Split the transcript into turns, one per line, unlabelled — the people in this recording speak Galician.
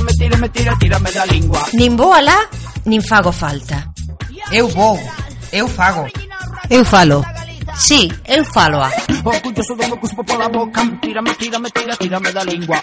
me tira, tírame da lingua.
Nin vou alá, nin fago falta.
Eu vou, eu fago.
Eu falo.
Sí, eu falo ah. a.
Orgulloso de lo que escupo por la boca. Tírame, tírame, tira, tírame da lingua.